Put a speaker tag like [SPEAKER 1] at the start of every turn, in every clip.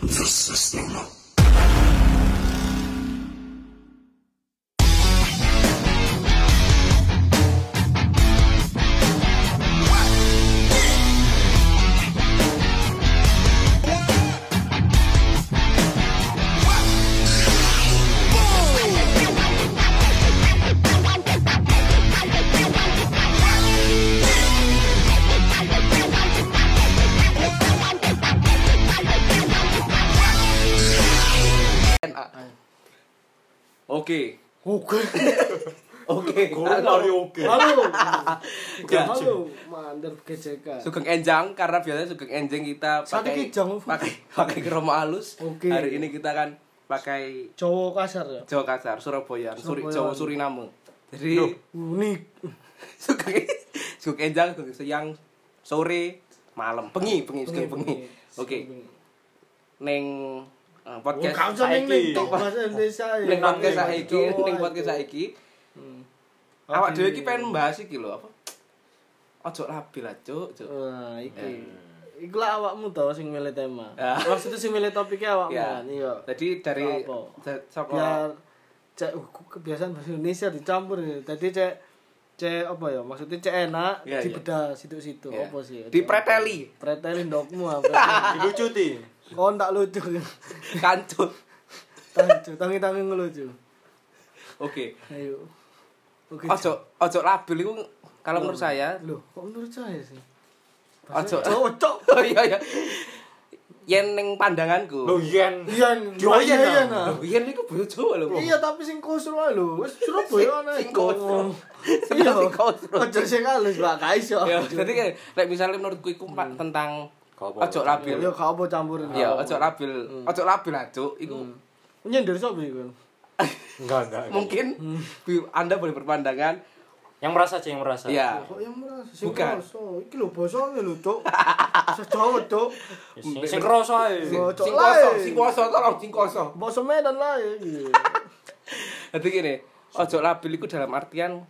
[SPEAKER 1] the system.
[SPEAKER 2] DNA. Oke.
[SPEAKER 3] Oke.
[SPEAKER 2] Oke.
[SPEAKER 3] Lari oke.
[SPEAKER 4] Halo.
[SPEAKER 2] Ya.
[SPEAKER 4] Halo, mandor GJK.
[SPEAKER 2] Sugeng enjang karena biasanya sugeng enjeng kita
[SPEAKER 4] Sakiki
[SPEAKER 2] pakai
[SPEAKER 4] jang.
[SPEAKER 2] pakai pakai kromo halus.
[SPEAKER 4] Oke.
[SPEAKER 2] Hari ini kita kan pakai
[SPEAKER 4] Jawa kasar ya.
[SPEAKER 2] Jawa kasar, Surabaya, Suri,
[SPEAKER 4] Surabaya.
[SPEAKER 2] Jawa Suriname. Jadi
[SPEAKER 4] Unik.
[SPEAKER 2] sugeng sugeng enjang sugeng siang, sore, malam, pengi, pengi, sugeng pengi. Oke. Neng eh, podcast
[SPEAKER 4] Gak usah ning
[SPEAKER 3] saiki.
[SPEAKER 4] tok bahasa Indonesia. Oh, ya.
[SPEAKER 2] Neng podcast
[SPEAKER 4] Bahasa
[SPEAKER 2] saiki,
[SPEAKER 4] Jawa
[SPEAKER 2] neng
[SPEAKER 4] itu.
[SPEAKER 2] podcast saiki.
[SPEAKER 4] Hmm.
[SPEAKER 2] Awak
[SPEAKER 4] Oke.
[SPEAKER 2] dhewe iki pengen membahas iki lho apa? Ojo labil lah, Cuk. Cuk.
[SPEAKER 4] Nah, Ah, iki. Iku lah awakmu tau sing milih tema.
[SPEAKER 2] Ah.
[SPEAKER 4] Maksudnya sing milih topiknya awakmu
[SPEAKER 2] Ya.
[SPEAKER 4] kan, iya.
[SPEAKER 2] Jadi dari
[SPEAKER 4] Apa?
[SPEAKER 2] da- saka
[SPEAKER 4] Biar cek uh, kebiasaan bahasa Indonesia dicampur ya. Tadi cek cek apa ya? Maksudnya cek enak,
[SPEAKER 2] Ya, ya.
[SPEAKER 4] dibedah situ-situ
[SPEAKER 2] Ya.
[SPEAKER 4] apa sih?
[SPEAKER 2] Dipreteli.
[SPEAKER 4] Preteli ndokmu apa?
[SPEAKER 3] Lucu ti.
[SPEAKER 4] Kon tak lucu.
[SPEAKER 2] kancut.
[SPEAKER 4] Tangi tangi tangi ngelucu.
[SPEAKER 2] Oke.
[SPEAKER 4] Ayo. Oke.
[SPEAKER 2] Ojo ojo labil iku kalau menurut saya
[SPEAKER 4] Loh, kok menurut saya sih?
[SPEAKER 2] ojo
[SPEAKER 4] Cocok.
[SPEAKER 2] Oh iya iya. Yen ning pandanganku.
[SPEAKER 3] Lo yen.
[SPEAKER 4] Iya,
[SPEAKER 3] Joyen,
[SPEAKER 4] iya, iya,
[SPEAKER 3] ah.
[SPEAKER 4] nah.
[SPEAKER 2] Lho, yen iku boyo Jawa lho.
[SPEAKER 4] Iya, tapi sing kosro ae lho. Wis Surabaya ana.
[SPEAKER 2] Sing
[SPEAKER 4] iku.
[SPEAKER 2] kosro.
[SPEAKER 4] Iya,
[SPEAKER 2] Sebenarnya sing kosro.
[SPEAKER 4] Ojo sing halus, Pak, gak iso.
[SPEAKER 2] Ya, jadi kayak like misalnya menurutku iku Pak, tentang
[SPEAKER 3] Apa?
[SPEAKER 2] ojo labil.
[SPEAKER 4] Yo Hmm. gak Hmm. apa campurin.
[SPEAKER 2] Ya, ojo labil. Ojo labil lah, Cuk. Iku
[SPEAKER 4] Hmm. Nyender sapa iku?
[SPEAKER 3] Enggak enggak.
[SPEAKER 2] mungkin
[SPEAKER 4] Hmm.
[SPEAKER 2] bi- Anda boleh berpandangan
[SPEAKER 3] Yang merasa aja yang
[SPEAKER 4] Hmm.
[SPEAKER 3] merasa.
[SPEAKER 2] ya
[SPEAKER 4] Kok yang merasa sing
[SPEAKER 2] Bukan.
[SPEAKER 4] kosro. Iki lho bosone lho, Cuk. Sejawa, Cuk.
[SPEAKER 3] Sing sing kroso ae.
[SPEAKER 4] Sing- Ojo
[SPEAKER 2] sing kosong,
[SPEAKER 4] lae.
[SPEAKER 2] sing kosong tolong sing kosong.
[SPEAKER 4] Boso Medan lah ya. iya.
[SPEAKER 2] Jadi gini, ojo labil iku dalam artian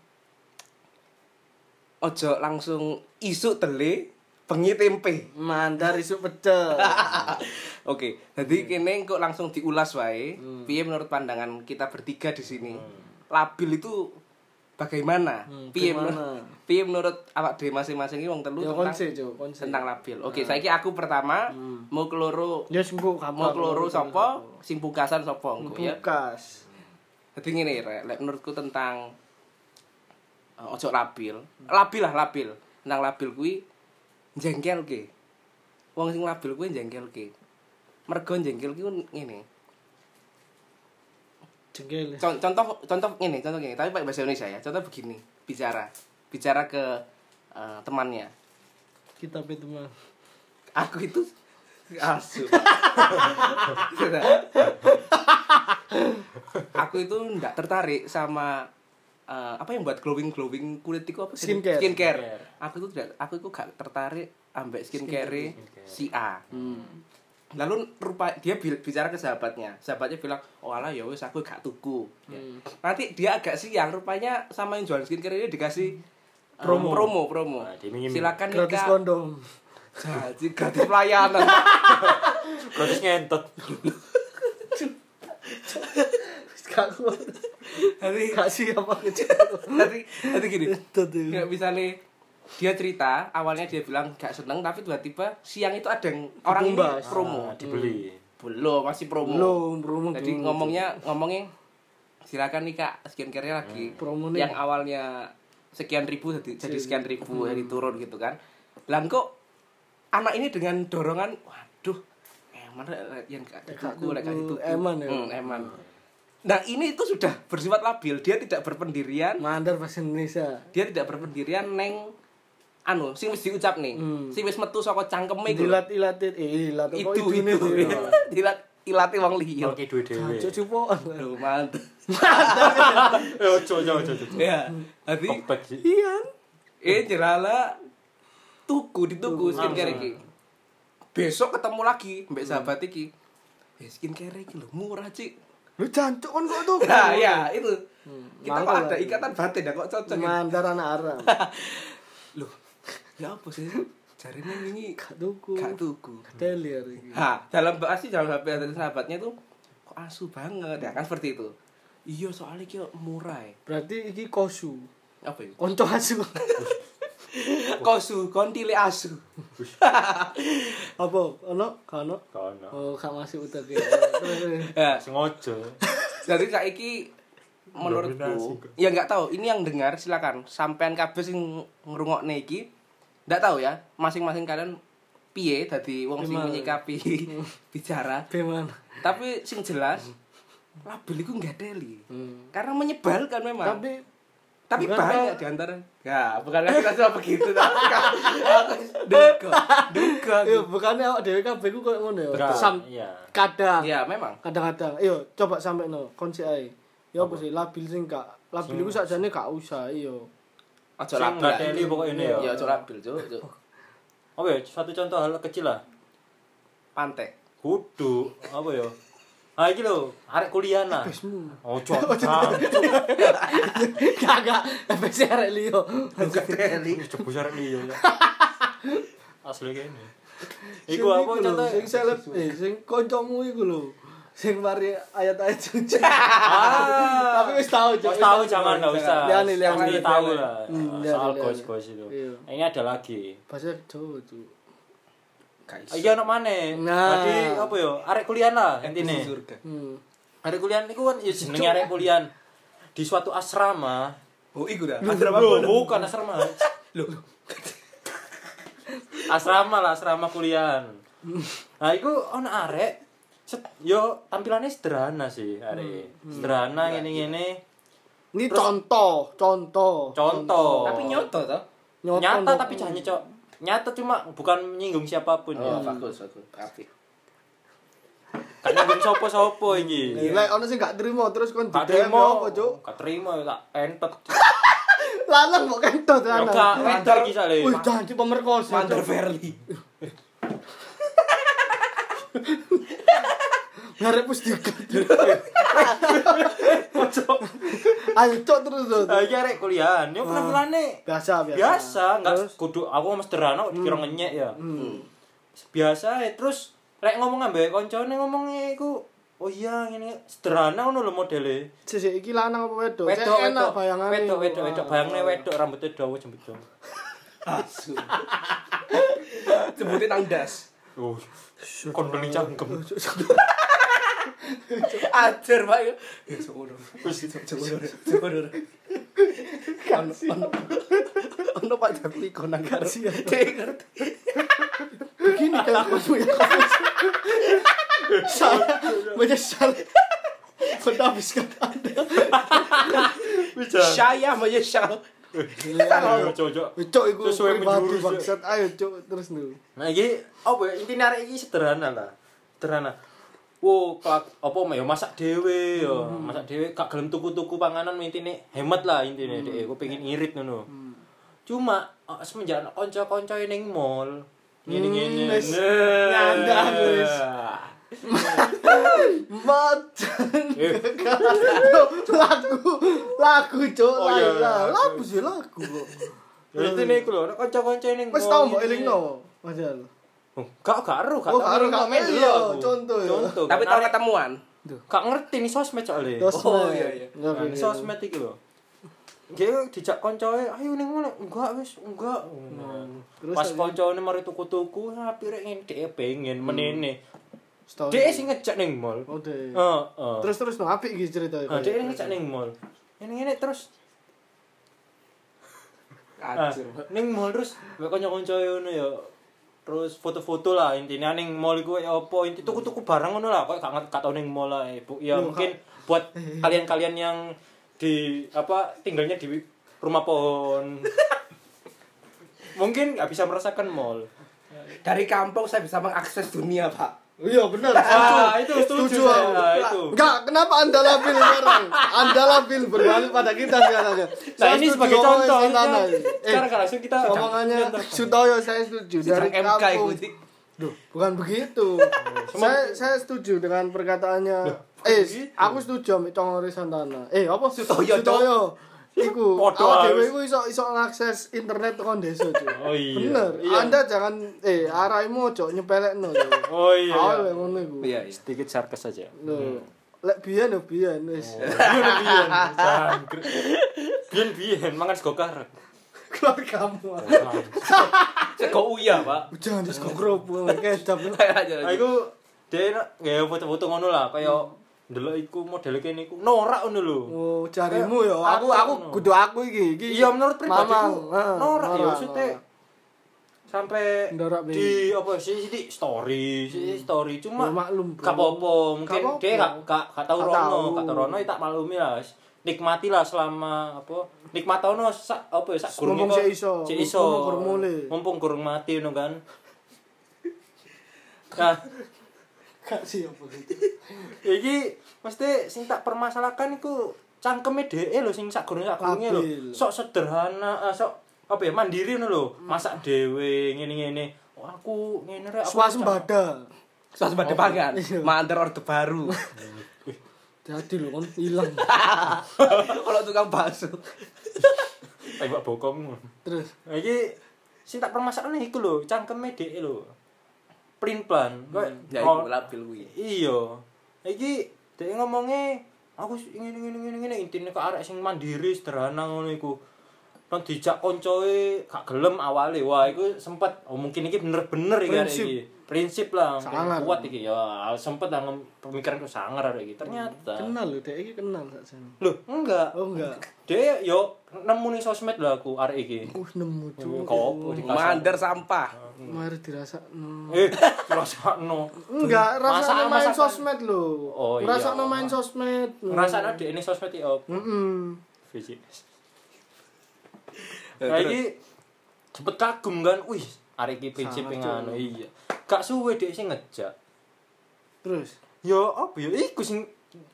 [SPEAKER 2] ojo langsung isu tele bengi tempe.
[SPEAKER 4] Mandar isuk pecel.
[SPEAKER 2] Oke, jadi kene kok langsung diulas wae. Piye menurut pandangan kita bertiga di sini? Labil itu bagaimana?
[SPEAKER 4] Hmm,
[SPEAKER 2] piye
[SPEAKER 4] bagaimana?
[SPEAKER 2] menurut piye menurut awak dhewe masing-masing iki wong telu
[SPEAKER 4] Yo
[SPEAKER 2] tentang,
[SPEAKER 4] konse, Cuk, konse.
[SPEAKER 2] tentang labil. Oke, saiki aku pertama mau keloro
[SPEAKER 4] Hmm. Ya sembuh kamu.
[SPEAKER 2] mau keloro sapa? Sing pungkasan sapa engko
[SPEAKER 4] Iya.
[SPEAKER 2] ya.
[SPEAKER 4] Bukas.
[SPEAKER 2] Jadi ngene rek, lek menurutku tentang eh, ojo labil. Labil lah labil. Nang labil kuwi jengkelke. Wong sing labil kuwi jengkelke. Mergo jengkel kuwi ngene.
[SPEAKER 4] Jengkel.
[SPEAKER 2] Con- Contoh contoh ngene, contoh ngene, tapi pakai bahasa Indonesia ya. Contoh begini, bicara. Bicara ke eh, temannya.
[SPEAKER 4] Kita pe teman.
[SPEAKER 2] Aku itu asu. aku itu nggak tertarik sama eh, apa yang buat glowing glowing kulit itu apa sih?
[SPEAKER 4] Skincare.
[SPEAKER 2] skincare.
[SPEAKER 3] Skincare.
[SPEAKER 2] Aku itu tidak, aku itu gak tertarik ambek skincare, si A.
[SPEAKER 4] Hmm.
[SPEAKER 2] Lalu rupa dia bi- bicara ke sahabatnya, sahabatnya bilang, oh alah ya wes aku gak tuku. Ya. Nanti dia agak siang, rupanya sama yang jualan skincare ini dikasih eh,
[SPEAKER 3] Promo.
[SPEAKER 2] promo, promo.
[SPEAKER 3] Nah, diminum.
[SPEAKER 2] Silakan
[SPEAKER 4] Gratis
[SPEAKER 2] nikah.
[SPEAKER 4] kondom.
[SPEAKER 2] Jadi gratis pelayanan.
[SPEAKER 3] Terus ngentot.
[SPEAKER 4] Gak kuat.
[SPEAKER 2] Jadi
[SPEAKER 4] Gak siap aku Cuk. Iya.
[SPEAKER 2] jadi jadi gini.
[SPEAKER 4] Itu tuh.
[SPEAKER 2] Kayak misalnya dia cerita awalnya dia bilang gak seneng tapi tiba-tiba siang itu ada yang orang ini
[SPEAKER 4] Dikumbas.
[SPEAKER 2] promo.
[SPEAKER 3] Nah, dibeli.
[SPEAKER 2] Belum masih promo.
[SPEAKER 4] Belum promo.
[SPEAKER 2] Jadi
[SPEAKER 4] belum.
[SPEAKER 2] ngomongnya ngomongnya silakan nih kak skincare lagi
[SPEAKER 4] Ah, Promo nih.
[SPEAKER 2] yang awalnya sekian ribu jadi, jadi sekian
[SPEAKER 4] hmm.
[SPEAKER 2] ribu jadi turun gitu kan. Lah kok anak ini dengan dorongan waduh eman rek, yang gak dituku lek gak dituku.
[SPEAKER 4] tuku, eman ya.
[SPEAKER 2] Hmm, eman. Nah, ini itu sudah bersifat labil. Dia tidak berpendirian,
[SPEAKER 4] Mandar bahasa Indonesia.
[SPEAKER 2] dia tidak berpendirian neng anu sing wis diucap nih sing wis metu saka cangkeme iku lho.
[SPEAKER 4] Hmm. Dilat ilatit. Eh, ilat kok
[SPEAKER 2] itu
[SPEAKER 4] idune
[SPEAKER 2] itu
[SPEAKER 4] dhewe.
[SPEAKER 2] dilat ilate wong liya
[SPEAKER 3] Oke duwe dhewe.
[SPEAKER 4] Cuk cupoan.
[SPEAKER 2] Aduh, mantep
[SPEAKER 3] Eh ojo ojo ojo. ojo.
[SPEAKER 2] ya tapi
[SPEAKER 3] Kopek sih.
[SPEAKER 4] Iya.
[SPEAKER 2] eh jerala tuku dituku skincare iki besok ketemu lagi
[SPEAKER 4] Hmm.
[SPEAKER 2] mbek sahabat iki eh skincare iki lho murah cik
[SPEAKER 4] Lu jancuk kan kok tuh.
[SPEAKER 2] nah ya itu
[SPEAKER 4] Hmm.
[SPEAKER 2] kita kok
[SPEAKER 4] mantap
[SPEAKER 2] ada
[SPEAKER 4] lagi.
[SPEAKER 2] ikatan batin ya kok cocok ya?
[SPEAKER 4] Mandar anak Arab.
[SPEAKER 2] loh ya apa sih jarine wingi
[SPEAKER 4] gak tuku
[SPEAKER 2] gak tuku
[SPEAKER 4] delir iki
[SPEAKER 2] ha dalam pasti dalam HP dari sahabatnya tuh kok asu banget ya kan seperti itu iya soalnya kyo murah ya.
[SPEAKER 4] berarti iki kosu
[SPEAKER 2] apa ya? itu
[SPEAKER 4] konco asu
[SPEAKER 2] kosu kontile asu
[SPEAKER 4] apa ono gak ono
[SPEAKER 3] Kono.
[SPEAKER 4] oh gak masuk utek
[SPEAKER 2] ya
[SPEAKER 3] Sengojo.
[SPEAKER 2] Jadi saiki menurutku ya nggak tahu ini yang dengar silakan sampean kabeh sing ngrungokne iki nggak tahu ya masing-masing kalian piye dadi wong sing
[SPEAKER 4] Gimana?
[SPEAKER 2] menyikapi bicara
[SPEAKER 4] gimana
[SPEAKER 2] tapi sing jelas label iku nggak teli karena menyebalkan memang tapi,
[SPEAKER 4] tapi bukan
[SPEAKER 2] banyak
[SPEAKER 4] kau-
[SPEAKER 2] di antara ya bukan lagi kita suka begitu tapi kau- aku duga duga
[SPEAKER 4] Iya, bukannya awak dhewe kabeh ku koyo ngono ya.
[SPEAKER 3] Berat,
[SPEAKER 4] Sam-
[SPEAKER 3] iya.
[SPEAKER 4] kadang
[SPEAKER 2] ya memang
[SPEAKER 4] kadang-kadang iyo coba sampe no konsi ae. Ya apa sih labil sing gak labil iku sakjane gak usah iyo.
[SPEAKER 2] ojo
[SPEAKER 3] Sing
[SPEAKER 2] label
[SPEAKER 3] nggak teli pokoknya ini ya.
[SPEAKER 2] ya ojo label cuk cuk.
[SPEAKER 3] Apa ya? Satu contoh hal kecil lah.
[SPEAKER 2] pantek
[SPEAKER 3] Kudu apa ya? Ah iki lho, arek kuliah lah.
[SPEAKER 4] Besmu.
[SPEAKER 3] Ojo. Ah. Cang.
[SPEAKER 4] Kagak FPC arek liyo.
[SPEAKER 2] nggak teli
[SPEAKER 3] Jebus arek liya. Asli kene. Iku apa contoh?
[SPEAKER 4] Sing seleb eh sing kancamu iku lho. Sing mari ayat-ayat suci.
[SPEAKER 3] Ah.
[SPEAKER 4] Tapi wis tau
[SPEAKER 3] Wis tahu jangan enggak usah.
[SPEAKER 4] Lihat nih, lihat
[SPEAKER 3] Pasti
[SPEAKER 4] nih.
[SPEAKER 3] tahu lah.
[SPEAKER 4] Hmm, lihat
[SPEAKER 3] Soal
[SPEAKER 4] nih, lihat
[SPEAKER 3] gos-gos
[SPEAKER 4] nih.
[SPEAKER 3] itu.
[SPEAKER 4] Iya.
[SPEAKER 3] Ini ada lagi.
[SPEAKER 4] Bahasa Jawa tuh.
[SPEAKER 3] Ah, Iya ono maneh.
[SPEAKER 4] Nah.
[SPEAKER 3] Tadi apa ya? Arek kuliah lah intine.
[SPEAKER 2] surga
[SPEAKER 4] Hmm.
[SPEAKER 3] Arek kuliah niku kan ya jenenge arek kuliah di suatu asrama.
[SPEAKER 2] Oh, iku dah.
[SPEAKER 3] Loh, bukan asrama.
[SPEAKER 2] Loh.
[SPEAKER 3] asrama lah, asrama kuliahan. Nah, iku ono arek set, yo tampilannya sederhana sih arek.
[SPEAKER 4] Hmm,
[SPEAKER 3] Sederhana ngene-ngene.
[SPEAKER 4] Ini contoh, contoh.
[SPEAKER 3] Contoh.
[SPEAKER 2] Tapi nyoto toh?
[SPEAKER 4] Nyoto,
[SPEAKER 3] nyata
[SPEAKER 4] nyoto.
[SPEAKER 3] tapi hanya cok nyata cuma bukan menyinggung siapapun ya
[SPEAKER 2] Oh,
[SPEAKER 4] Oh.
[SPEAKER 2] bagus, bagus. Apik.
[SPEAKER 3] kan nyinggung sopo sopo ini
[SPEAKER 4] Lah ono sing gak trimo terus kon
[SPEAKER 3] gak
[SPEAKER 4] didem
[SPEAKER 3] terima
[SPEAKER 4] apa, Cuk?
[SPEAKER 3] gak terima tak entet
[SPEAKER 4] Lanang kok kentut
[SPEAKER 3] Ya,
[SPEAKER 4] lanang.
[SPEAKER 3] gak wedar iki sale
[SPEAKER 4] Wih, janji pemerkosa.
[SPEAKER 2] Mandor
[SPEAKER 4] Cuk.
[SPEAKER 2] Verly.
[SPEAKER 4] Ngarep wis diket.
[SPEAKER 3] Cok.
[SPEAKER 4] Ayo cok terus terus.
[SPEAKER 3] Lah, iki arek kuliah yo penampilannya
[SPEAKER 4] Biasa biasa.
[SPEAKER 3] biasa nggak
[SPEAKER 4] Terus?
[SPEAKER 3] kudu aku mau sederhana kok dikira ngenyek ya biasa ya terus rek ngomong ambek koncone ngomongnya iku oh iya ngene sederhana ngono lho modele
[SPEAKER 4] Sisi iki lanang apa wedok? Cek
[SPEAKER 3] wedok
[SPEAKER 4] enak
[SPEAKER 3] wedok
[SPEAKER 4] bayangane.
[SPEAKER 3] wedok wedok wedok bayangane wedok rambutnya dawa jembut
[SPEAKER 2] Asu. Sebutin nang das.
[SPEAKER 3] Oh, kon beli cangkem.
[SPEAKER 2] Ajar, Pak. ya. Ya semono. Wis semono. Semono. Ono ono Pak Jakti kono karo. Dek ngerti.
[SPEAKER 4] Begini kelakuanmu ya. Saya menyesal. Menghabiskan Anda.
[SPEAKER 3] Bisa.
[SPEAKER 2] Saya menyesal.
[SPEAKER 3] Cocok.
[SPEAKER 4] Cok iku
[SPEAKER 3] Sesuai
[SPEAKER 4] pribadi
[SPEAKER 3] menjurus, Cuk.
[SPEAKER 4] bangsat. Ayo cok terus nu.
[SPEAKER 3] Nah, iki apa ya? Intine arek iki sederhana lah. Sederhana. Wo, kelak apa ya masak dhewe ya.
[SPEAKER 4] Hmm.
[SPEAKER 3] Masak dhewe gak gelem tuku-tuku panganan intine hemat lah intine
[SPEAKER 4] Hmm.
[SPEAKER 3] dhek. Aku pengen irit ngono. Cuma eh, semenjak ana kanca-kanca ning mall
[SPEAKER 4] Hmm,
[SPEAKER 3] ngene-ngene.
[SPEAKER 4] wis.
[SPEAKER 3] Nah.
[SPEAKER 4] Nyandang, wis. Mat.
[SPEAKER 3] Eh,
[SPEAKER 4] lagu lagu cok
[SPEAKER 3] Oh, iya, iya,
[SPEAKER 4] lagu
[SPEAKER 3] lagu.
[SPEAKER 4] lagu sih lagu kok
[SPEAKER 3] ya intine iku lho, ana kanca-kanca ning mall.
[SPEAKER 4] wes tau mbok
[SPEAKER 3] intine.
[SPEAKER 4] elingno padahal
[SPEAKER 3] iya, Oh, Gak gak ero, gak
[SPEAKER 4] Oh,
[SPEAKER 3] tau
[SPEAKER 4] gak ero,
[SPEAKER 3] eling
[SPEAKER 4] gak
[SPEAKER 3] komen
[SPEAKER 4] eling,
[SPEAKER 3] lho
[SPEAKER 4] iya,
[SPEAKER 3] aku.
[SPEAKER 4] contoh ya.
[SPEAKER 3] Contoh.
[SPEAKER 2] Tapi
[SPEAKER 3] karena
[SPEAKER 2] tau
[SPEAKER 3] arek-
[SPEAKER 2] ketemuan.
[SPEAKER 3] gak ngerti nih sosmed soalnya.
[SPEAKER 4] terus
[SPEAKER 2] Oh, iya, iya.
[SPEAKER 3] Nah, ini sosmed iki lho. Dia dijak koncoe, ayo ning ngono. Enggak wis, enggak.
[SPEAKER 4] Terus
[SPEAKER 3] Pas
[SPEAKER 4] akhirnya-
[SPEAKER 3] koncone mari tuku-tuku, tapi rek ngene dhek pengen menene. Dhek
[SPEAKER 4] terus
[SPEAKER 3] sing Oh. ngejak ning mall.
[SPEAKER 4] Oke.
[SPEAKER 3] Heeh.
[SPEAKER 4] Oh, terus terus no apik iki ceritanya
[SPEAKER 3] Nah, dhek ngejak ning mall. Ini ini terus ah,
[SPEAKER 2] Ajar.
[SPEAKER 3] ning mall terus wek kanca-kancae ngono ya. Terus foto-foto lah intinya ning mall iku ya apa inti tuku-tuku barang ngono lah kok gak ngerti gak tau ning mall lah Ibu. Ya
[SPEAKER 4] Yo,
[SPEAKER 3] mungkin buat kalian-kalian yang di apa tinggalnya di rumah pohon. mungkin gak bisa merasakan mall.
[SPEAKER 2] Dari kampung saya bisa mengakses dunia, Pak.
[SPEAKER 4] iya bener
[SPEAKER 3] Ah, itu setuju
[SPEAKER 4] setuju
[SPEAKER 3] saya.
[SPEAKER 4] aku.
[SPEAKER 3] Nah, itu.
[SPEAKER 4] Enggak, kenapa Anda labil sekarang? Anda labil berbalik pada kita sekarang. ya.
[SPEAKER 3] Nah,
[SPEAKER 4] Saya
[SPEAKER 3] ini
[SPEAKER 4] setuju
[SPEAKER 3] sebagai
[SPEAKER 4] omongan
[SPEAKER 3] contoh.
[SPEAKER 4] saya tanah.
[SPEAKER 3] ini.
[SPEAKER 4] Eh,
[SPEAKER 3] Sekarang langsung kita
[SPEAKER 4] omongannya Sutoyo saya setuju dari
[SPEAKER 2] Sedang MK iku.
[SPEAKER 4] kampung. Duh, bukan begitu. saya saya setuju dengan perkataannya. eh,
[SPEAKER 3] begitu.
[SPEAKER 4] aku setuju sama Congori Santana. Eh, apa
[SPEAKER 2] Sutoyo, Cok.
[SPEAKER 4] Sutoyo. iku
[SPEAKER 3] Podo
[SPEAKER 4] awak
[SPEAKER 3] harus.
[SPEAKER 4] dhewe iku iso iso ngakses internet tekan desa cuy.
[SPEAKER 3] Oh iya.
[SPEAKER 4] Bener.
[SPEAKER 3] Iya.
[SPEAKER 4] Anda jangan eh araimu ojo nyepelekno yo.
[SPEAKER 3] Oh iya.
[SPEAKER 4] Awal
[SPEAKER 3] Hmm.
[SPEAKER 4] lek ngono iku.
[SPEAKER 2] Iya, iya.
[SPEAKER 3] Sedikit sarkas saja.
[SPEAKER 4] Lho. Lek biyen yo biyen wis.
[SPEAKER 3] Oh. Biyen jangkrik. Biyen biyen mangan sego karek.
[SPEAKER 4] Keluargamu.
[SPEAKER 2] Kok uya, Pak?
[SPEAKER 4] Jangan terus kok kropo kecap.
[SPEAKER 3] Nah, iku dia nak nggawe foto-foto ngono lah kaya ndelok iku model kene iku norak ngono lho.
[SPEAKER 4] Oh, carimu yo. Aku
[SPEAKER 3] Aku-
[SPEAKER 4] aku kudu aku iki. iki.
[SPEAKER 3] Iya menurut pribadiku
[SPEAKER 4] Mamang, eh,
[SPEAKER 3] norak ya
[SPEAKER 4] norak,
[SPEAKER 3] maksudnya
[SPEAKER 4] norak.
[SPEAKER 3] sampai
[SPEAKER 4] Norak,
[SPEAKER 3] di apa sih sih story sih story cuma
[SPEAKER 4] Ya, maklum, bro.
[SPEAKER 3] gak apa-apa mungkin
[SPEAKER 4] Gak apa-apa.
[SPEAKER 3] dia gak gak gak tau
[SPEAKER 4] Gak
[SPEAKER 3] rono
[SPEAKER 4] tahu.
[SPEAKER 3] gak tau rono ya tak malumi lah nikmati lah selama apa nikmat ono sak apa ya sak
[SPEAKER 4] Mumpung
[SPEAKER 3] kok-
[SPEAKER 4] sik iso.
[SPEAKER 3] sik iso
[SPEAKER 4] Mumpung kurung mulai.
[SPEAKER 3] mumpung kurung mati ngono kan nah
[SPEAKER 4] Gak sih apa gitu.
[SPEAKER 3] Iki mesti sing tak permasalahkan iku cangkeme dhewe lho sing sak gurunge sak gurunge lho.
[SPEAKER 4] Labil.
[SPEAKER 3] Sok sederhana, eh, sok apa ya mandiri ngono lho.
[SPEAKER 2] Hmm.
[SPEAKER 3] Masak dhewe ngene-ngene. Oh, aku ngene rek aku
[SPEAKER 4] Swasembada. Oh,
[SPEAKER 2] Swasembada pangan. Manter orde baru.
[SPEAKER 4] Jadi lho kon ilang.
[SPEAKER 2] Kalau tukang bakso.
[SPEAKER 3] tembak bokom.
[SPEAKER 4] Terus
[SPEAKER 3] Nah, Iki sing tak permasalahan iku lho, cangkeme dhewe lho. Plin plan.
[SPEAKER 2] Hmm. Ya iku labil kuwi.
[SPEAKER 3] Iya. Iki dhek ngomongnya aku ngene ngene ngene ngene intine kok arek sing mandiri sederhana ngono iku. Nang dijak koncoe gak gelem awale. Wah, iku sempet oh mungkin iki bener-bener iki arek
[SPEAKER 4] Prinsip.
[SPEAKER 3] iki. Prinsip lah, mungkin
[SPEAKER 4] Sangar.
[SPEAKER 3] kuat iki ya. Sempet lah ngom- pemikiranku sangar arek iki. Ternyata.
[SPEAKER 4] kenal lho dek iki kenal sak jan.
[SPEAKER 3] Loh, enggak.
[SPEAKER 4] Oh enggak.
[SPEAKER 3] Dhek yo nemu ning sosmed lho aku arek iki.
[SPEAKER 4] Wih Oh, nemu cuy.
[SPEAKER 3] Kopo di kasar.
[SPEAKER 2] Manter sampah.
[SPEAKER 4] Mari dirasakno.
[SPEAKER 3] Eh, rasakno.
[SPEAKER 4] Enggak, rasanya
[SPEAKER 3] Masakan-
[SPEAKER 4] main
[SPEAKER 3] masakan.
[SPEAKER 4] sosmed lho.
[SPEAKER 3] Oh, iya.
[SPEAKER 4] Rasanya main sosmed.
[SPEAKER 3] Ngrasakno dhek ning sosmed iki oh. op.
[SPEAKER 4] Heeh.
[SPEAKER 3] VCS.
[SPEAKER 2] Ya,
[SPEAKER 3] Nah,
[SPEAKER 2] terus?
[SPEAKER 3] iki cepet kagum kan. Wih, arek iki prinsip
[SPEAKER 4] Sangat,
[SPEAKER 3] yang
[SPEAKER 4] Cuk.
[SPEAKER 3] anu iya. Gak suwe dhek sing ngejak.
[SPEAKER 4] Terus
[SPEAKER 3] Ya apa ya iku sing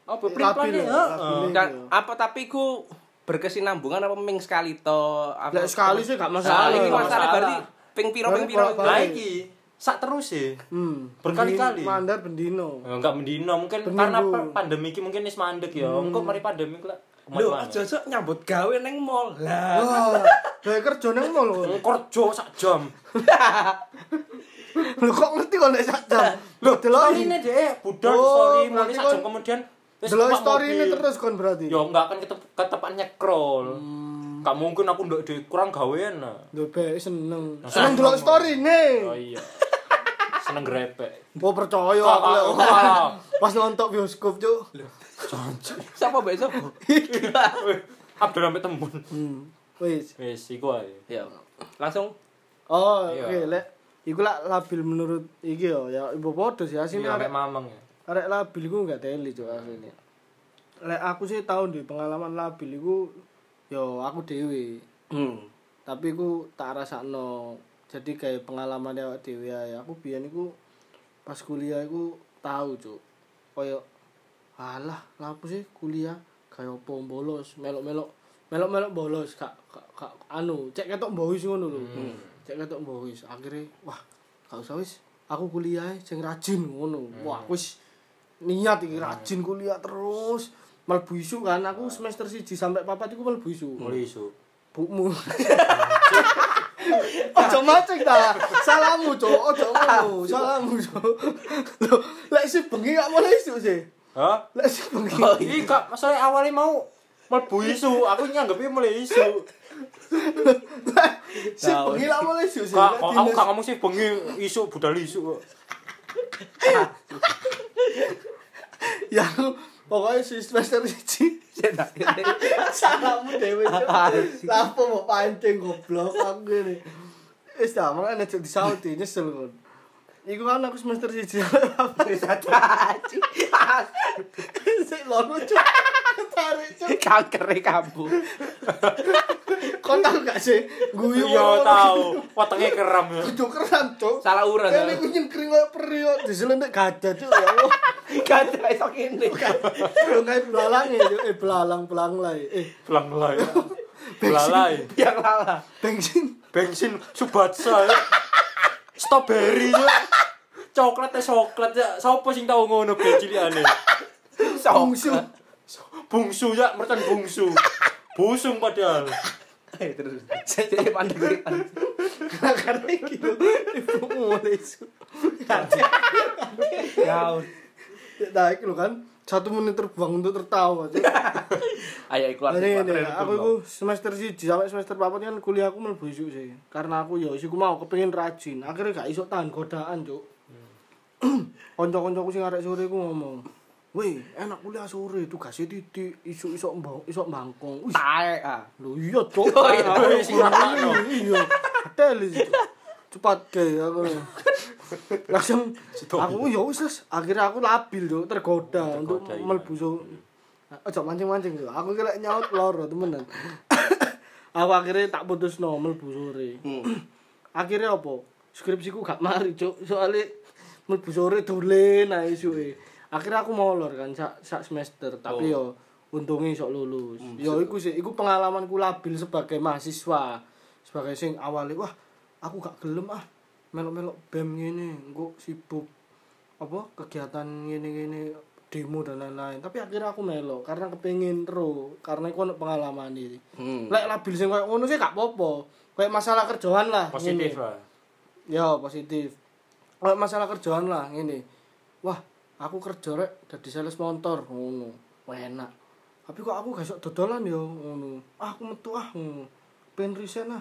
[SPEAKER 3] apa
[SPEAKER 4] Eh, labil
[SPEAKER 3] priplane
[SPEAKER 4] ya,
[SPEAKER 3] heeh.
[SPEAKER 4] labil.
[SPEAKER 2] Dan apa tapi ku berkesinambungan apa ming sekali to? Apa
[SPEAKER 4] lek sekali sih gak
[SPEAKER 2] Nah,
[SPEAKER 4] masalah.
[SPEAKER 2] iki
[SPEAKER 3] Gak
[SPEAKER 2] masalah
[SPEAKER 3] masalah.
[SPEAKER 2] berarti ping piro ping
[SPEAKER 4] Berarti
[SPEAKER 2] piro.
[SPEAKER 4] kalau-
[SPEAKER 3] Lah iki sak terus e.
[SPEAKER 4] Hmm.
[SPEAKER 3] Berkali-kali.
[SPEAKER 4] Bendi- Mandar bendino.
[SPEAKER 3] Ya, Enggak mendino mungkin
[SPEAKER 4] Seminggu.
[SPEAKER 3] karena pa- pandemi iki mungkin wis mandek ya. Engko mari pandemi ku lek.
[SPEAKER 2] Lho, aja nyambut gawe neng mall.
[SPEAKER 3] Eh.
[SPEAKER 2] Lah,
[SPEAKER 4] Wah, gawe kerja nang mall kok.
[SPEAKER 3] kerja sak jam.
[SPEAKER 4] Lho kok ngerti kok nek sak jam. Lho
[SPEAKER 3] Storyne
[SPEAKER 4] deloki.
[SPEAKER 3] dhek budal
[SPEAKER 4] Oh,
[SPEAKER 3] story mulai
[SPEAKER 4] berarti
[SPEAKER 3] sak jam
[SPEAKER 4] kon-
[SPEAKER 3] kemudian wis
[SPEAKER 4] Delok
[SPEAKER 3] numpak
[SPEAKER 4] story ini
[SPEAKER 3] mobil.
[SPEAKER 4] terus kon berarti.
[SPEAKER 3] Ya enggak kan ketep ketepan nyekrol. Gak mungkin aku ndak di kurang gawean. nah.
[SPEAKER 4] Lho be seneng.
[SPEAKER 3] Nah,
[SPEAKER 4] Seneng
[SPEAKER 3] seneng
[SPEAKER 4] delok
[SPEAKER 3] kok.
[SPEAKER 4] story
[SPEAKER 3] Oh
[SPEAKER 4] ne.
[SPEAKER 3] iya. Seneng grepek.
[SPEAKER 4] Oh percaya
[SPEAKER 3] Kok-
[SPEAKER 4] aku lek.
[SPEAKER 3] kok-
[SPEAKER 4] Pas nonton bioskop cuk.
[SPEAKER 2] sapa mbek sapa?
[SPEAKER 3] Weh, Abdul sampe tembun.
[SPEAKER 4] Hmm. Wis.
[SPEAKER 3] Wis iku ae.
[SPEAKER 2] Ya. Langsung
[SPEAKER 4] Oh,
[SPEAKER 3] Iya.
[SPEAKER 4] oke lek iku lak labil menurut iki yo ya ibu podo sih asine
[SPEAKER 3] Sini sampe
[SPEAKER 4] arek
[SPEAKER 3] mamang ya.
[SPEAKER 4] arek labil iku enggak teli cuk asline. Lek aku sih tau duwe pengalaman labil iku yo aku dhewe.
[SPEAKER 2] hmm.
[SPEAKER 4] Tapi ku tak rasakno. Jadi kayak pengalaman awak dhewe ae. Aku biyen iku pas kuliah iku tau cuk. Koyo alah, lapo sih kuliah kayak opo bolos, melok-melok melok-melok bolos kak, kak, kak anu cek ketok boys ngono lho. Hmm, Cek ketok boys. Akhirnya wah, gak usah wis. Aku kuliah ae, sing rajin ngono. Wah, wis niat iki rajin kuliah terus. Mlebu isu kan aku semester 1 sampai 4 iku mlebu isu.
[SPEAKER 3] Mulai isu.
[SPEAKER 4] bukmu ojo macet ta salahmu cok ojo ngono salahmu cok lho lek si bengi gak mulai isu sih
[SPEAKER 3] Hah?
[SPEAKER 4] lek si bengi
[SPEAKER 3] Iki gak masalah awalnya mau mlebu isu, aku nyanggepi mulai isu.
[SPEAKER 4] si bengi gak mulai isu sih Lek
[SPEAKER 3] Kak, kok aku
[SPEAKER 4] dinas-
[SPEAKER 3] gak ngomong sih bengi isu budal isu kok.
[SPEAKER 4] ya aku pokoknya si semester siji salahmu dewe cok lapo mau pancing goblok aku ngene wis ta mangan aja disauti nyesel kon Iku kan aku semester siji Sik lho cuk. Tarik cuk.
[SPEAKER 2] kanker kampung.
[SPEAKER 4] Kon tau gak sih guyu
[SPEAKER 3] Iya tau, wetenge kerem ya.
[SPEAKER 4] Kudu keren, Cuk.
[SPEAKER 2] Salah urat.
[SPEAKER 4] Kene ku nyengkring koyo peri kok diselendek gajah, Cuk. Ya Allah.
[SPEAKER 2] Gak ada esok ini.
[SPEAKER 4] Lu kayak belalang ya, Cuk. Eh belalang belang lah. ya. Eh
[SPEAKER 3] Belang-belang. ya. Belalai.
[SPEAKER 2] Yang lala.
[SPEAKER 4] bensin.
[SPEAKER 3] bensin subatsa ya. strawberry ya. coklat ya coklat ya siapa sing tau ngono bel cilikane
[SPEAKER 2] Sok.
[SPEAKER 4] Bungsu.
[SPEAKER 3] bungsu ya mercon bungsu busung padahal
[SPEAKER 2] Eh, terus jadi pandai
[SPEAKER 4] karena gitu ibumu oleh isu
[SPEAKER 2] ya
[SPEAKER 4] nah itu kan satu menit terbang untuk tertawa Cuk.
[SPEAKER 2] ayo keluar
[SPEAKER 4] Nah,
[SPEAKER 2] keluar,
[SPEAKER 4] ini, ini,
[SPEAKER 2] keluar,
[SPEAKER 4] aku
[SPEAKER 2] keluar.
[SPEAKER 4] itu semester siji sampai semester papat kan kuliah aku mlebu isuk sih. Karena aku ya isiku mau kepengin rajin. Akhirnya gak iso tahan godaan, Cuk.
[SPEAKER 2] Hmm.
[SPEAKER 4] Kanca-kancaku sing arek sore ku ngomong, "Weh, enak kuliah sore, tugasnya titik, isuk isok mbang, isok bangkong." Wih,
[SPEAKER 2] taek ah
[SPEAKER 4] lho iya, Cuk.
[SPEAKER 2] Oh, iya.
[SPEAKER 4] Aku sing ngomong ini, iya. Tel Cuk. cepat ke aku. Langsung aku ya wis Las. akhirnya aku labil, Cuk, tergoda, untuk
[SPEAKER 3] Tergoda, iya.
[SPEAKER 4] mlebu so- Ojo mancing-mancing lho. Aku kira nyaut loro temenan. aku akhirnya tak putus no mlebu sore. akhirnya apa? Skripsiku gak mari, Cuk. Soale mlebu sore dolen ae suwe. Akhirnya aku molor kan sak, sak semester, tapi yo untungnya sok lulus. yo iku sih, iku pengalamanku labil sebagai mahasiswa. Sebagai sing awalnya wah, aku gak gelem ah. Melok-melok BEM ngene, engko sibuk apa kegiatan gini-gini demo dan lain-lain tapi akhirnya aku melo karena kepingin terus karena aku ada pengalaman ini
[SPEAKER 2] Hmm.
[SPEAKER 4] lek labil sing kayak ngono sih gak apa-apa kayak masalah kerjaan lah
[SPEAKER 3] positif
[SPEAKER 4] ngene.
[SPEAKER 3] lah
[SPEAKER 4] ya positif kayak masalah kerjaan lah ini wah aku kerja rek jadi sales motor ngono Wah, enak tapi kok aku gak sok dodolan ya ngono ah, aku metu ah ngono pengen resign ah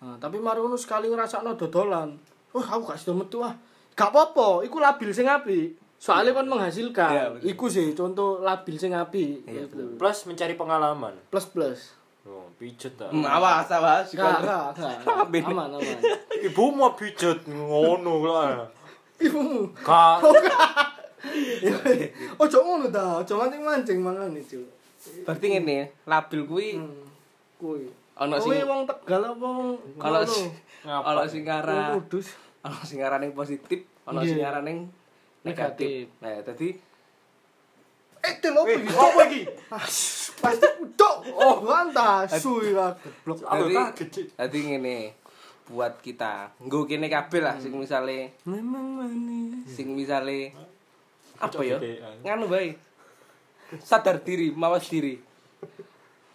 [SPEAKER 4] nah, tapi mari ngono sekali ngrasakno dodolan wah aku gak sido metu ah gak apa-apa iku labil sing apik soalnya kan menghasilkan
[SPEAKER 2] Iya, bener.
[SPEAKER 4] iku sih contoh labil sing apik Iku.
[SPEAKER 3] plus mencari pengalaman
[SPEAKER 4] plus plus
[SPEAKER 3] oh, pijet ta
[SPEAKER 2] Hmm, awas awas
[SPEAKER 4] gak gak gak
[SPEAKER 2] Kabeh.
[SPEAKER 4] aman aman
[SPEAKER 3] ibu mau pijet ngono lah
[SPEAKER 4] ibumu
[SPEAKER 3] kak
[SPEAKER 2] Oh,
[SPEAKER 4] ojo ngono ta ojo mancing-mancing mangan itu
[SPEAKER 2] berarti ngene labil kuwi
[SPEAKER 4] Hmm. kuwi
[SPEAKER 2] Ana
[SPEAKER 4] Kowe
[SPEAKER 2] sing-
[SPEAKER 4] wong Tegal apa wong
[SPEAKER 2] kalau
[SPEAKER 4] ngono?
[SPEAKER 2] si- kalau sing
[SPEAKER 4] Wong
[SPEAKER 2] arah
[SPEAKER 4] Kudus
[SPEAKER 2] ana sing aran yang positif, ana
[SPEAKER 4] Iya.
[SPEAKER 2] sing aran yang
[SPEAKER 4] Negatif.
[SPEAKER 2] negatif. Nah, tadi
[SPEAKER 4] eh tel opo iki? Opo iki? Ah, Pasti udok. Oh, mantap.
[SPEAKER 2] Eh.
[SPEAKER 4] Suwi lah goblok.
[SPEAKER 3] Aku
[SPEAKER 2] tadi
[SPEAKER 3] kaget, Cik.
[SPEAKER 2] tadi ngene buat kita. Nggo kene kabeh lah
[SPEAKER 4] Hmm.
[SPEAKER 2] sing misale
[SPEAKER 4] Memang manis.
[SPEAKER 2] sing misale apa
[SPEAKER 3] Cocok
[SPEAKER 2] ya?
[SPEAKER 3] gedean.
[SPEAKER 2] Nganu bae. Sadar diri, mawas diri.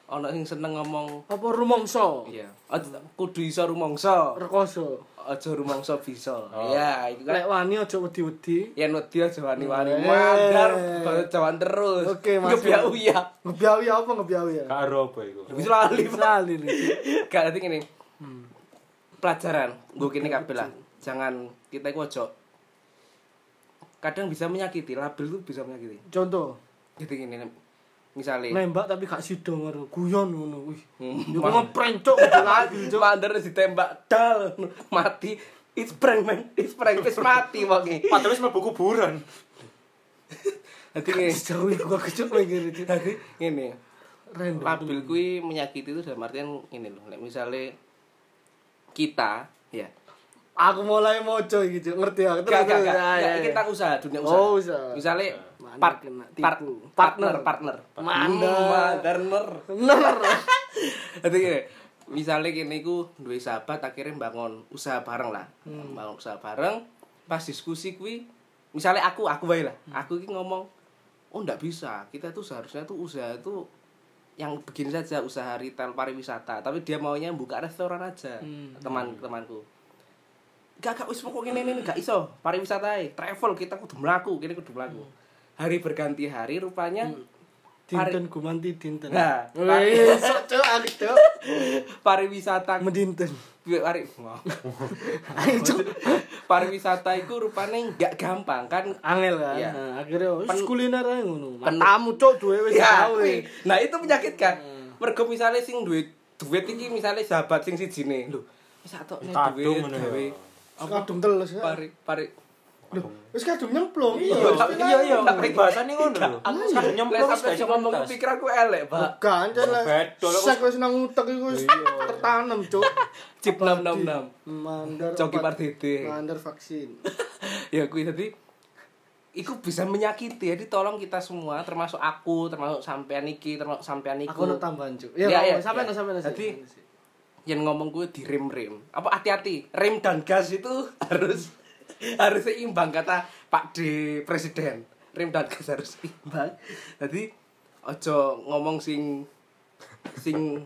[SPEAKER 2] Ana sing seneng ngomong
[SPEAKER 4] Apa rumangsa?
[SPEAKER 2] iya. Ot- Kudu iso rumangsa.
[SPEAKER 4] Rekoso.
[SPEAKER 2] Aja rumangsa bisa. Ya, iku kan Ya
[SPEAKER 4] Oh. Lek wani ojo wedi-wedi.
[SPEAKER 2] yen wedi aja wani-wani
[SPEAKER 4] Eh.
[SPEAKER 2] mandar banget jawan terus.
[SPEAKER 4] Oke, Mas.
[SPEAKER 2] Ngebiak-uyak.
[SPEAKER 4] Ngebiawi apa ngebiawi ya?
[SPEAKER 3] kak Aro apa itu
[SPEAKER 2] Wis lali.
[SPEAKER 4] Lali nih.
[SPEAKER 2] Gak nanti gini
[SPEAKER 4] Hmm.
[SPEAKER 2] Pelajaran Gue kini kabel lah Jangan Kita itu ojo Kadang bisa menyakiti Label tuh bisa menyakiti
[SPEAKER 4] Contoh,
[SPEAKER 2] Jadi gini Misalnya
[SPEAKER 4] nembak tapi gak sido ngono, guyon ngono. Wih.
[SPEAKER 2] Hmm.
[SPEAKER 4] Yo ngeprank cok udah lali cok.
[SPEAKER 2] Mandar ditembak Dal Mati It's prank man It's prank It's mati pokoknya
[SPEAKER 3] padahal wis mlebu kuburan
[SPEAKER 2] Jadi gini
[SPEAKER 4] Jauh gua kecuk mikir itu.
[SPEAKER 2] Jadi gini
[SPEAKER 4] Random.
[SPEAKER 2] Label kui menyakiti itu dalam artian Ini loh Like Misalnya Kita Ya
[SPEAKER 4] Aku mulai mojo gitu, ngerti aku.
[SPEAKER 2] Gak, gak, gak.
[SPEAKER 4] Ya, ya,
[SPEAKER 2] Gak,
[SPEAKER 4] ya.
[SPEAKER 2] kita usaha, dunia usaha.
[SPEAKER 4] Oh, usaha.
[SPEAKER 2] Misalnya,
[SPEAKER 4] Mana
[SPEAKER 2] part,
[SPEAKER 4] kena tipu.
[SPEAKER 2] part, partner, partner.
[SPEAKER 4] Partner.
[SPEAKER 2] Hmm, Partner.
[SPEAKER 4] Bener.
[SPEAKER 2] Jadi gini, misalnya kini ku duwe sahabat akhirnya bangun usaha bareng lah. Bangun usaha bareng, pas diskusi kui, misalnya aku, aku baik lah. Aku ini ngomong, oh ndak bisa, kita tuh seharusnya tuh usaha itu yang begini saja usaha retail pariwisata tapi dia maunya buka restoran aja teman temanku gak gak wis pokoknya ini ini gak iso pariwisata ae. travel kita kudu mlaku kene kudu mlaku hari berganti hari rupanya
[SPEAKER 4] Hmm. Dinten gumanti dinten.
[SPEAKER 2] Hmm. Nah,
[SPEAKER 4] wis cok aku cok.
[SPEAKER 2] pariwisata
[SPEAKER 4] Mendinten.
[SPEAKER 2] pari
[SPEAKER 4] Ayo cok.
[SPEAKER 2] pariwisata itu rupanya nggak gampang kan
[SPEAKER 4] Angel kan.
[SPEAKER 2] Iya.
[SPEAKER 4] Nah, akhirnya wis
[SPEAKER 2] Pen-
[SPEAKER 4] kuliner ae ngono.
[SPEAKER 2] Pen-
[SPEAKER 4] Matamu cok duwe wis
[SPEAKER 2] ya
[SPEAKER 4] gawe.
[SPEAKER 2] kuwi. nah itu menyakitkan
[SPEAKER 4] Hmm.
[SPEAKER 2] mergo misalnya sing duit duit iki misalnya sahabat sing siji ne lho wis atok nih
[SPEAKER 3] Kadung
[SPEAKER 2] duit
[SPEAKER 3] ngono ya.
[SPEAKER 2] gawe
[SPEAKER 4] Kadung teles. ya.
[SPEAKER 2] pari pari
[SPEAKER 4] Loh, wis kadung nyemplung.
[SPEAKER 2] Iya,
[SPEAKER 4] Wis
[SPEAKER 2] iya, iya.
[SPEAKER 4] kadung.
[SPEAKER 2] Tapi
[SPEAKER 3] bahasane ngono lho
[SPEAKER 2] aku
[SPEAKER 3] Wis
[SPEAKER 2] sampe nyemplung
[SPEAKER 3] nyemplung, wis gak
[SPEAKER 2] sampe
[SPEAKER 3] iso
[SPEAKER 2] ngomong
[SPEAKER 3] tuntas.
[SPEAKER 2] pikir aku elek pak
[SPEAKER 4] Bukan, Cok, lah.
[SPEAKER 3] Bedol, aku-
[SPEAKER 4] Sek wis nang utek iku wis tertanam, Cuk.
[SPEAKER 2] Cip 666.
[SPEAKER 4] Mandar.
[SPEAKER 2] Coki
[SPEAKER 4] obat-
[SPEAKER 2] Pardede.
[SPEAKER 4] Mandar vaksin.
[SPEAKER 2] ya kuwi jadi Iku bisa menyakiti, jadi tolong kita semua, termasuk aku, termasuk sampean iki, termasuk sampean iku.
[SPEAKER 4] Aku ono tambahan, Cuk. Ya,
[SPEAKER 2] Iya, iya,
[SPEAKER 4] sampe
[SPEAKER 2] iya.
[SPEAKER 4] no sampe no.
[SPEAKER 2] Jadi, yang ngomong gue di rem rem apa hati-hati rem dan gas itu harus harus seimbang kata Pak D presiden rem dan gas harus seimbang jadi ojo ngomong sing sing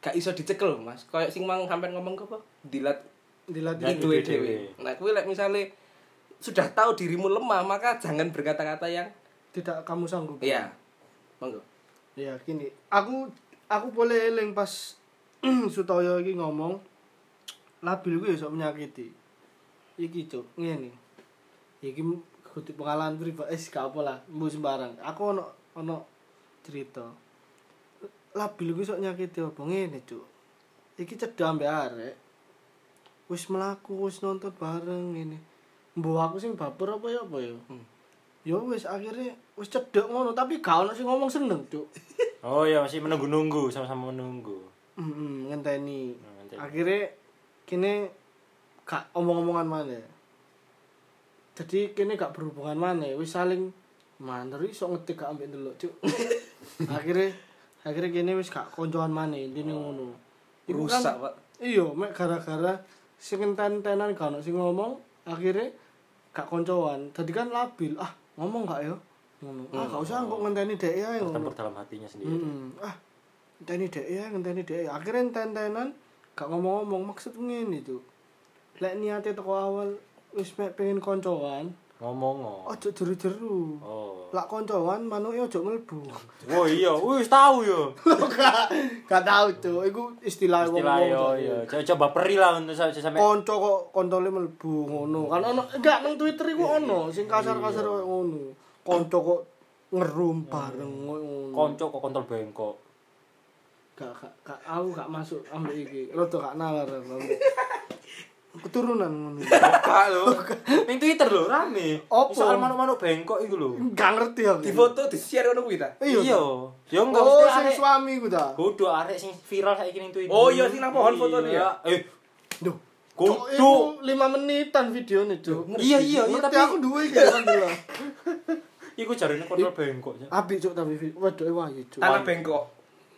[SPEAKER 2] gak iso dicekel mas kayak sing mang sampean ngomong ke apa dilat
[SPEAKER 4] dilatih
[SPEAKER 3] Dilatih.
[SPEAKER 2] itu
[SPEAKER 3] dhewe.
[SPEAKER 2] dewe nah kuwi lek misale sudah tahu dirimu lemah maka jangan berkata-kata yang
[SPEAKER 4] tidak kamu sanggup
[SPEAKER 2] iya monggo
[SPEAKER 4] ya gini aku aku boleh eling pas Sutoyo iki ngomong labil gue iso menyakiti iki cuk ngene iki kutip pengalaman pribadi eh gak apa lah mbu sembarang aku ono ono cerita labil gue iso nyakiti apa ngene cuk iki cedam mbek arek wis melaku wis nonton bareng ngene mbu aku sing baper apa ya apa ya
[SPEAKER 2] Hmm.
[SPEAKER 4] ya wis akhirnya wis cedek ngono tapi gak ono sing ngomong seneng cuk
[SPEAKER 3] Oh iya masih menunggu-nunggu sama-sama menunggu.
[SPEAKER 4] Mm, ngenteni.
[SPEAKER 3] Hmm, ngenteni.
[SPEAKER 4] Akhirnya kene gak omong-omongan mana. Jadi kene gak berhubungan mana, wis saling manter iso ngetik gak ambek ndelok, Cuk. akhirnya akhirnya kene wis gak koncoan mana intine ngono. Iku kan-
[SPEAKER 2] Oh, rusak pak
[SPEAKER 4] Iya, mek gara-gara sing enten-entenan gak ono sing ngomong, akhirnya gak koncoan. Jadi kan labil. Ah, ngomong gak ya? Ngono. Ah, gak
[SPEAKER 2] Hmm.
[SPEAKER 4] usah kok ngenteni dhek ya ngono.
[SPEAKER 3] Tempur dalam hatinya sendiri.
[SPEAKER 4] Mm Ah, enteni dek ya, enteni dek ya. Akhirnya enten-entenan gak ngomong-ngomong maksud ngene itu. Lek niate teko awal wis mek pengen koncoan,
[SPEAKER 2] Oh,
[SPEAKER 3] Ngomong.
[SPEAKER 4] ojo jeru-jeru.
[SPEAKER 3] Oh.
[SPEAKER 4] Lak koncoan manuke ojo mlebu.
[SPEAKER 3] Oh iya, wis tahu yo.
[SPEAKER 4] gak tau cuk, iku istilah wong.
[SPEAKER 3] Istilah yo yo. Coba peri lah untuk sampai sampai
[SPEAKER 4] Konco kok kontole mlebu ngono. Kan ono enggak nang Twitter iku ono sing kasar-kasar koyo ngono. Konco kok ngerum bareng koyo ngono.
[SPEAKER 3] konco kok kontol bengkok.
[SPEAKER 4] gak gak gak aku gak masuk ambek iki rada gak nalar aku ambek keturunan ngono
[SPEAKER 3] Buka lho. Ning Twitter lho rame.
[SPEAKER 4] Apa?
[SPEAKER 3] Soal manuk-manuk bengkok iku lho.
[SPEAKER 4] gak ngerti aku
[SPEAKER 2] di foto di share ngono kuwi ta
[SPEAKER 3] Iya. Yo enggak
[SPEAKER 4] oh
[SPEAKER 3] mesti
[SPEAKER 4] sing
[SPEAKER 3] arek.
[SPEAKER 4] suami ku ta
[SPEAKER 3] Bodoh arek sing viral saiki ning Twitter.
[SPEAKER 2] Oh, iya, sing nang pohon fotone ya?
[SPEAKER 3] Iya. Eh,
[SPEAKER 4] duh
[SPEAKER 3] Kudu.
[SPEAKER 4] Cok, iku 5 menitan videone cuk
[SPEAKER 3] Iya iya iya
[SPEAKER 4] ngerti
[SPEAKER 3] tapi
[SPEAKER 4] aku duwe iki alhamdulillah
[SPEAKER 3] iku jarine kontol bengkok. ya.
[SPEAKER 4] apik cuk tapi vid- wedoke wayu cuk
[SPEAKER 2] tanah bengkok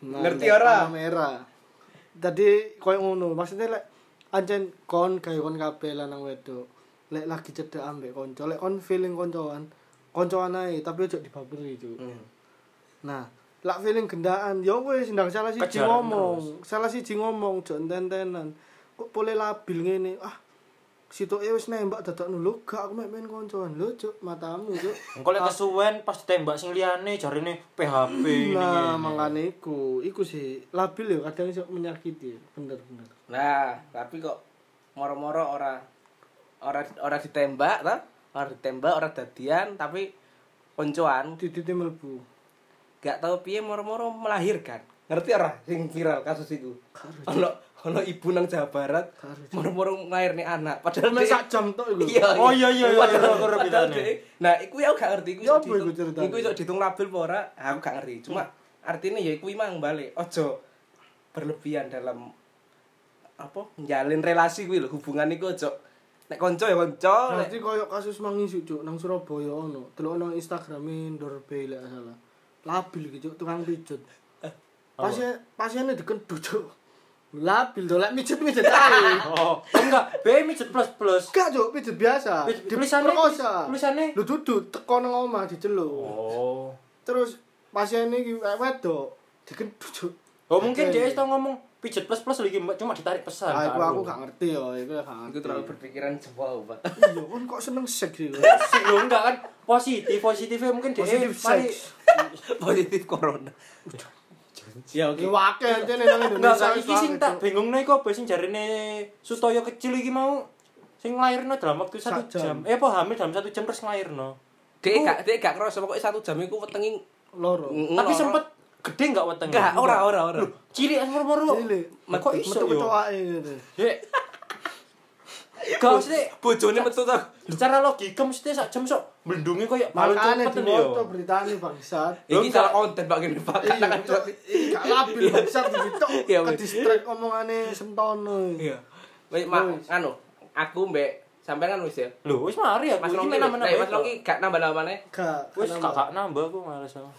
[SPEAKER 4] Nah,
[SPEAKER 2] Ngerti
[SPEAKER 4] lek
[SPEAKER 2] ora?
[SPEAKER 4] warna merah tadi koyo ngono maksudnya lek anjen kon gawe kon kabeh lanang wedok lek lagi cedek ambek konco lek kon feeling koncoan koncoan ae tapi ojo dibaberi cuk
[SPEAKER 2] Hmm.
[SPEAKER 4] Nah, lak feeling gendaan, ya wis ndang salah siji
[SPEAKER 3] Kejaran
[SPEAKER 4] ngomong. Salah siji ngomong jo enten-entenan. Kok boleh labil ngene? Ah, situke wis nembak dadak nulu gak aku mek main koncoan. Lho, Cuk, matamu, Cuk.
[SPEAKER 3] Engko lek kesuwen pas ditembak sing liyane jarine PHP
[SPEAKER 4] Nah,
[SPEAKER 3] ini.
[SPEAKER 4] makane iku, iku sih labil ya kadang iso menyakiti, bener-bener.
[SPEAKER 2] Nah, tapi kok moro-moro ora ora ora ditembak ta? Ora ditembak, ora dadian, tapi koncoan
[SPEAKER 4] Titite mlebu.
[SPEAKER 2] gak tau piye moro-moro melahirkan. Ngerti ora sing viral kasus iku? Ono ono ibu nang Jawa Barat
[SPEAKER 4] Karujuk.
[SPEAKER 2] moro-moro ngairni anak padahal
[SPEAKER 4] Mek
[SPEAKER 2] dhek-
[SPEAKER 4] sak jam tok iku.
[SPEAKER 2] Iya.
[SPEAKER 3] Oh, iya, iya, iya, iya,
[SPEAKER 2] Padahal-
[SPEAKER 3] aku ngerti
[SPEAKER 2] padahal
[SPEAKER 3] ceritanya.
[SPEAKER 2] dhek- Nah, iku ya aku gak ngerti iku.
[SPEAKER 4] Ya,
[SPEAKER 2] iso
[SPEAKER 4] apa iku
[SPEAKER 2] dihitung-
[SPEAKER 4] ceritanya?
[SPEAKER 2] Iku iso dihitung labil apa ora? Aku gak ngerti. Cuma artinya ya iku mang balik. Ojo berlebihan dalam apa? Njalin relasi kuwi lho, hubungan iku ojo nek kanca ya kanca, nek
[SPEAKER 3] Oh,
[SPEAKER 4] Berarti koyo kasus mangisu cuk nang Surabaya ono, delok nang Instagrame Ndorbe lek gak salah. Labil iki cuk tukang pijut.
[SPEAKER 3] Eh,
[SPEAKER 4] Pasien pasiennya dikendut cuk. Labil to lek pijet-pijet ae.
[SPEAKER 3] Oh, enggak, B mijet plus plus.
[SPEAKER 4] Enggak cuk, pijet biasa.
[SPEAKER 3] Pijet- tulisannya-
[SPEAKER 4] Diperkosa.
[SPEAKER 3] tulisannya?
[SPEAKER 4] lu duduk teko nang omah diceluk.
[SPEAKER 3] Oh.
[SPEAKER 4] Terus pasiennya iki eh, wedok dikendut cuk.
[SPEAKER 3] Oh
[SPEAKER 4] Oke.
[SPEAKER 3] mungkin dia tau ngomong pijet plus plus lagi mbak cuma ditarik pesan.
[SPEAKER 4] Ah, iku
[SPEAKER 3] karo.
[SPEAKER 4] aku gak ngerti yo, iku gak ngerti.
[SPEAKER 2] iku terlalu berpikiran jauh, Pak.
[SPEAKER 4] Iya, kon kok seneng seks iki. lho.
[SPEAKER 3] Sik, lho, enggak kan positif positifnya mungkin dia
[SPEAKER 4] Positif
[SPEAKER 3] mari
[SPEAKER 4] seks.
[SPEAKER 2] Positif corona. Ya oke.
[SPEAKER 4] Iki wakil jane nang
[SPEAKER 3] enggak
[SPEAKER 4] Indonesia.
[SPEAKER 3] enggak
[SPEAKER 4] wis
[SPEAKER 3] iki sing
[SPEAKER 4] wakil,
[SPEAKER 3] tak
[SPEAKER 4] Cuk.
[SPEAKER 3] bingung nih kok sing jarine Sutoyo kecil iki mau sing nglairno dalam waktu satu
[SPEAKER 4] Sak jam.
[SPEAKER 3] jam. Eh apa hamil dalam satu jam terus nglairno.
[SPEAKER 2] Dek gak dek gak kerasa pokoke satu jam iku wetengi
[SPEAKER 4] loro.
[SPEAKER 3] Tapi sempet gede enggak wetenge?
[SPEAKER 2] enggak ora ora ora.
[SPEAKER 3] Ciri moro-moro.
[SPEAKER 4] Cilik.
[SPEAKER 3] Kok iso
[SPEAKER 4] Metu
[SPEAKER 3] yo?
[SPEAKER 4] kecoake ngene.
[SPEAKER 3] Dek. Gak mesti
[SPEAKER 2] Bojone metu ta.
[SPEAKER 3] secara logika mesti sak jam sok mendungi koyo malu
[SPEAKER 4] Makane
[SPEAKER 3] cepet ini
[SPEAKER 4] diwoto
[SPEAKER 3] yo.
[SPEAKER 4] beritane bangsat.
[SPEAKER 2] Ini
[SPEAKER 3] Lho,
[SPEAKER 2] salah konten Pak Gini Pak.
[SPEAKER 4] Iya,
[SPEAKER 2] Kan
[SPEAKER 4] Cuk. Ih, gak labil bangsat gitu.
[SPEAKER 2] Iya,
[SPEAKER 4] Ke
[SPEAKER 2] weh.
[SPEAKER 4] distrek omongane sentono.
[SPEAKER 2] Iya. Wis mak anu, aku mbek sampean kan wis ya.
[SPEAKER 3] Lho wis mari aku
[SPEAKER 2] Mas
[SPEAKER 3] iki
[SPEAKER 2] Longki,
[SPEAKER 3] menang-menang
[SPEAKER 2] eh, Mas
[SPEAKER 3] bae kok.
[SPEAKER 2] Longki gak nambah namane.
[SPEAKER 4] Gak.
[SPEAKER 3] Wis
[SPEAKER 4] kenapa.
[SPEAKER 3] kakak nambah aku males sama.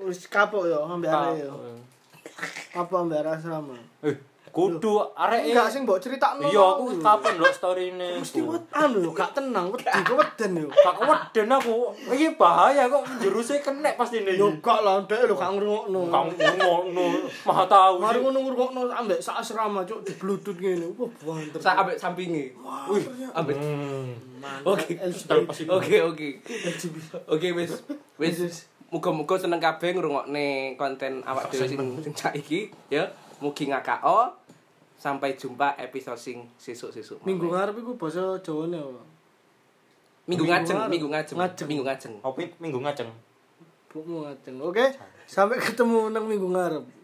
[SPEAKER 4] Wis kapok yo ambek arek yo. Apa ambek arek asrama.
[SPEAKER 3] Eh, kudu arek
[SPEAKER 4] Enggak sing mbok critakno.
[SPEAKER 3] iya aku kapan lo story ini
[SPEAKER 4] mesti wetan lho, gak tenang wedi kok weden yo.
[SPEAKER 3] gak weden aku ini bahaya kok jurusnya kena pasti ini
[SPEAKER 4] Yo gak lah ndek lho gak ngrungokno.
[SPEAKER 3] kamu ngono maha tahu
[SPEAKER 4] Mari
[SPEAKER 3] sih
[SPEAKER 4] ngono ngrungokno ambek sak asrama cuk dibludut ngene. Wah, banter.
[SPEAKER 2] Sa ambek sampingi. Wih, ambek. Oke.
[SPEAKER 3] terlepas itu
[SPEAKER 2] Oke, oke. Oke, wis. Wis. Muga-muga seneng kabeh ngrungokne konten awak dhewe sing sing saiki ya. Mugi ngakao. Sampai jumpa episode sing sesuk-sesuk.
[SPEAKER 4] Minggu ngarep iku basa Jawane apa?
[SPEAKER 2] Minggu ngajeng, minggu ngajeng,
[SPEAKER 4] Ngajeng.
[SPEAKER 2] minggu ngajeng.
[SPEAKER 3] Opit minggu ngaceng
[SPEAKER 4] Bukmu ngajeng. Oke, sampai ketemu nang minggu ngarep.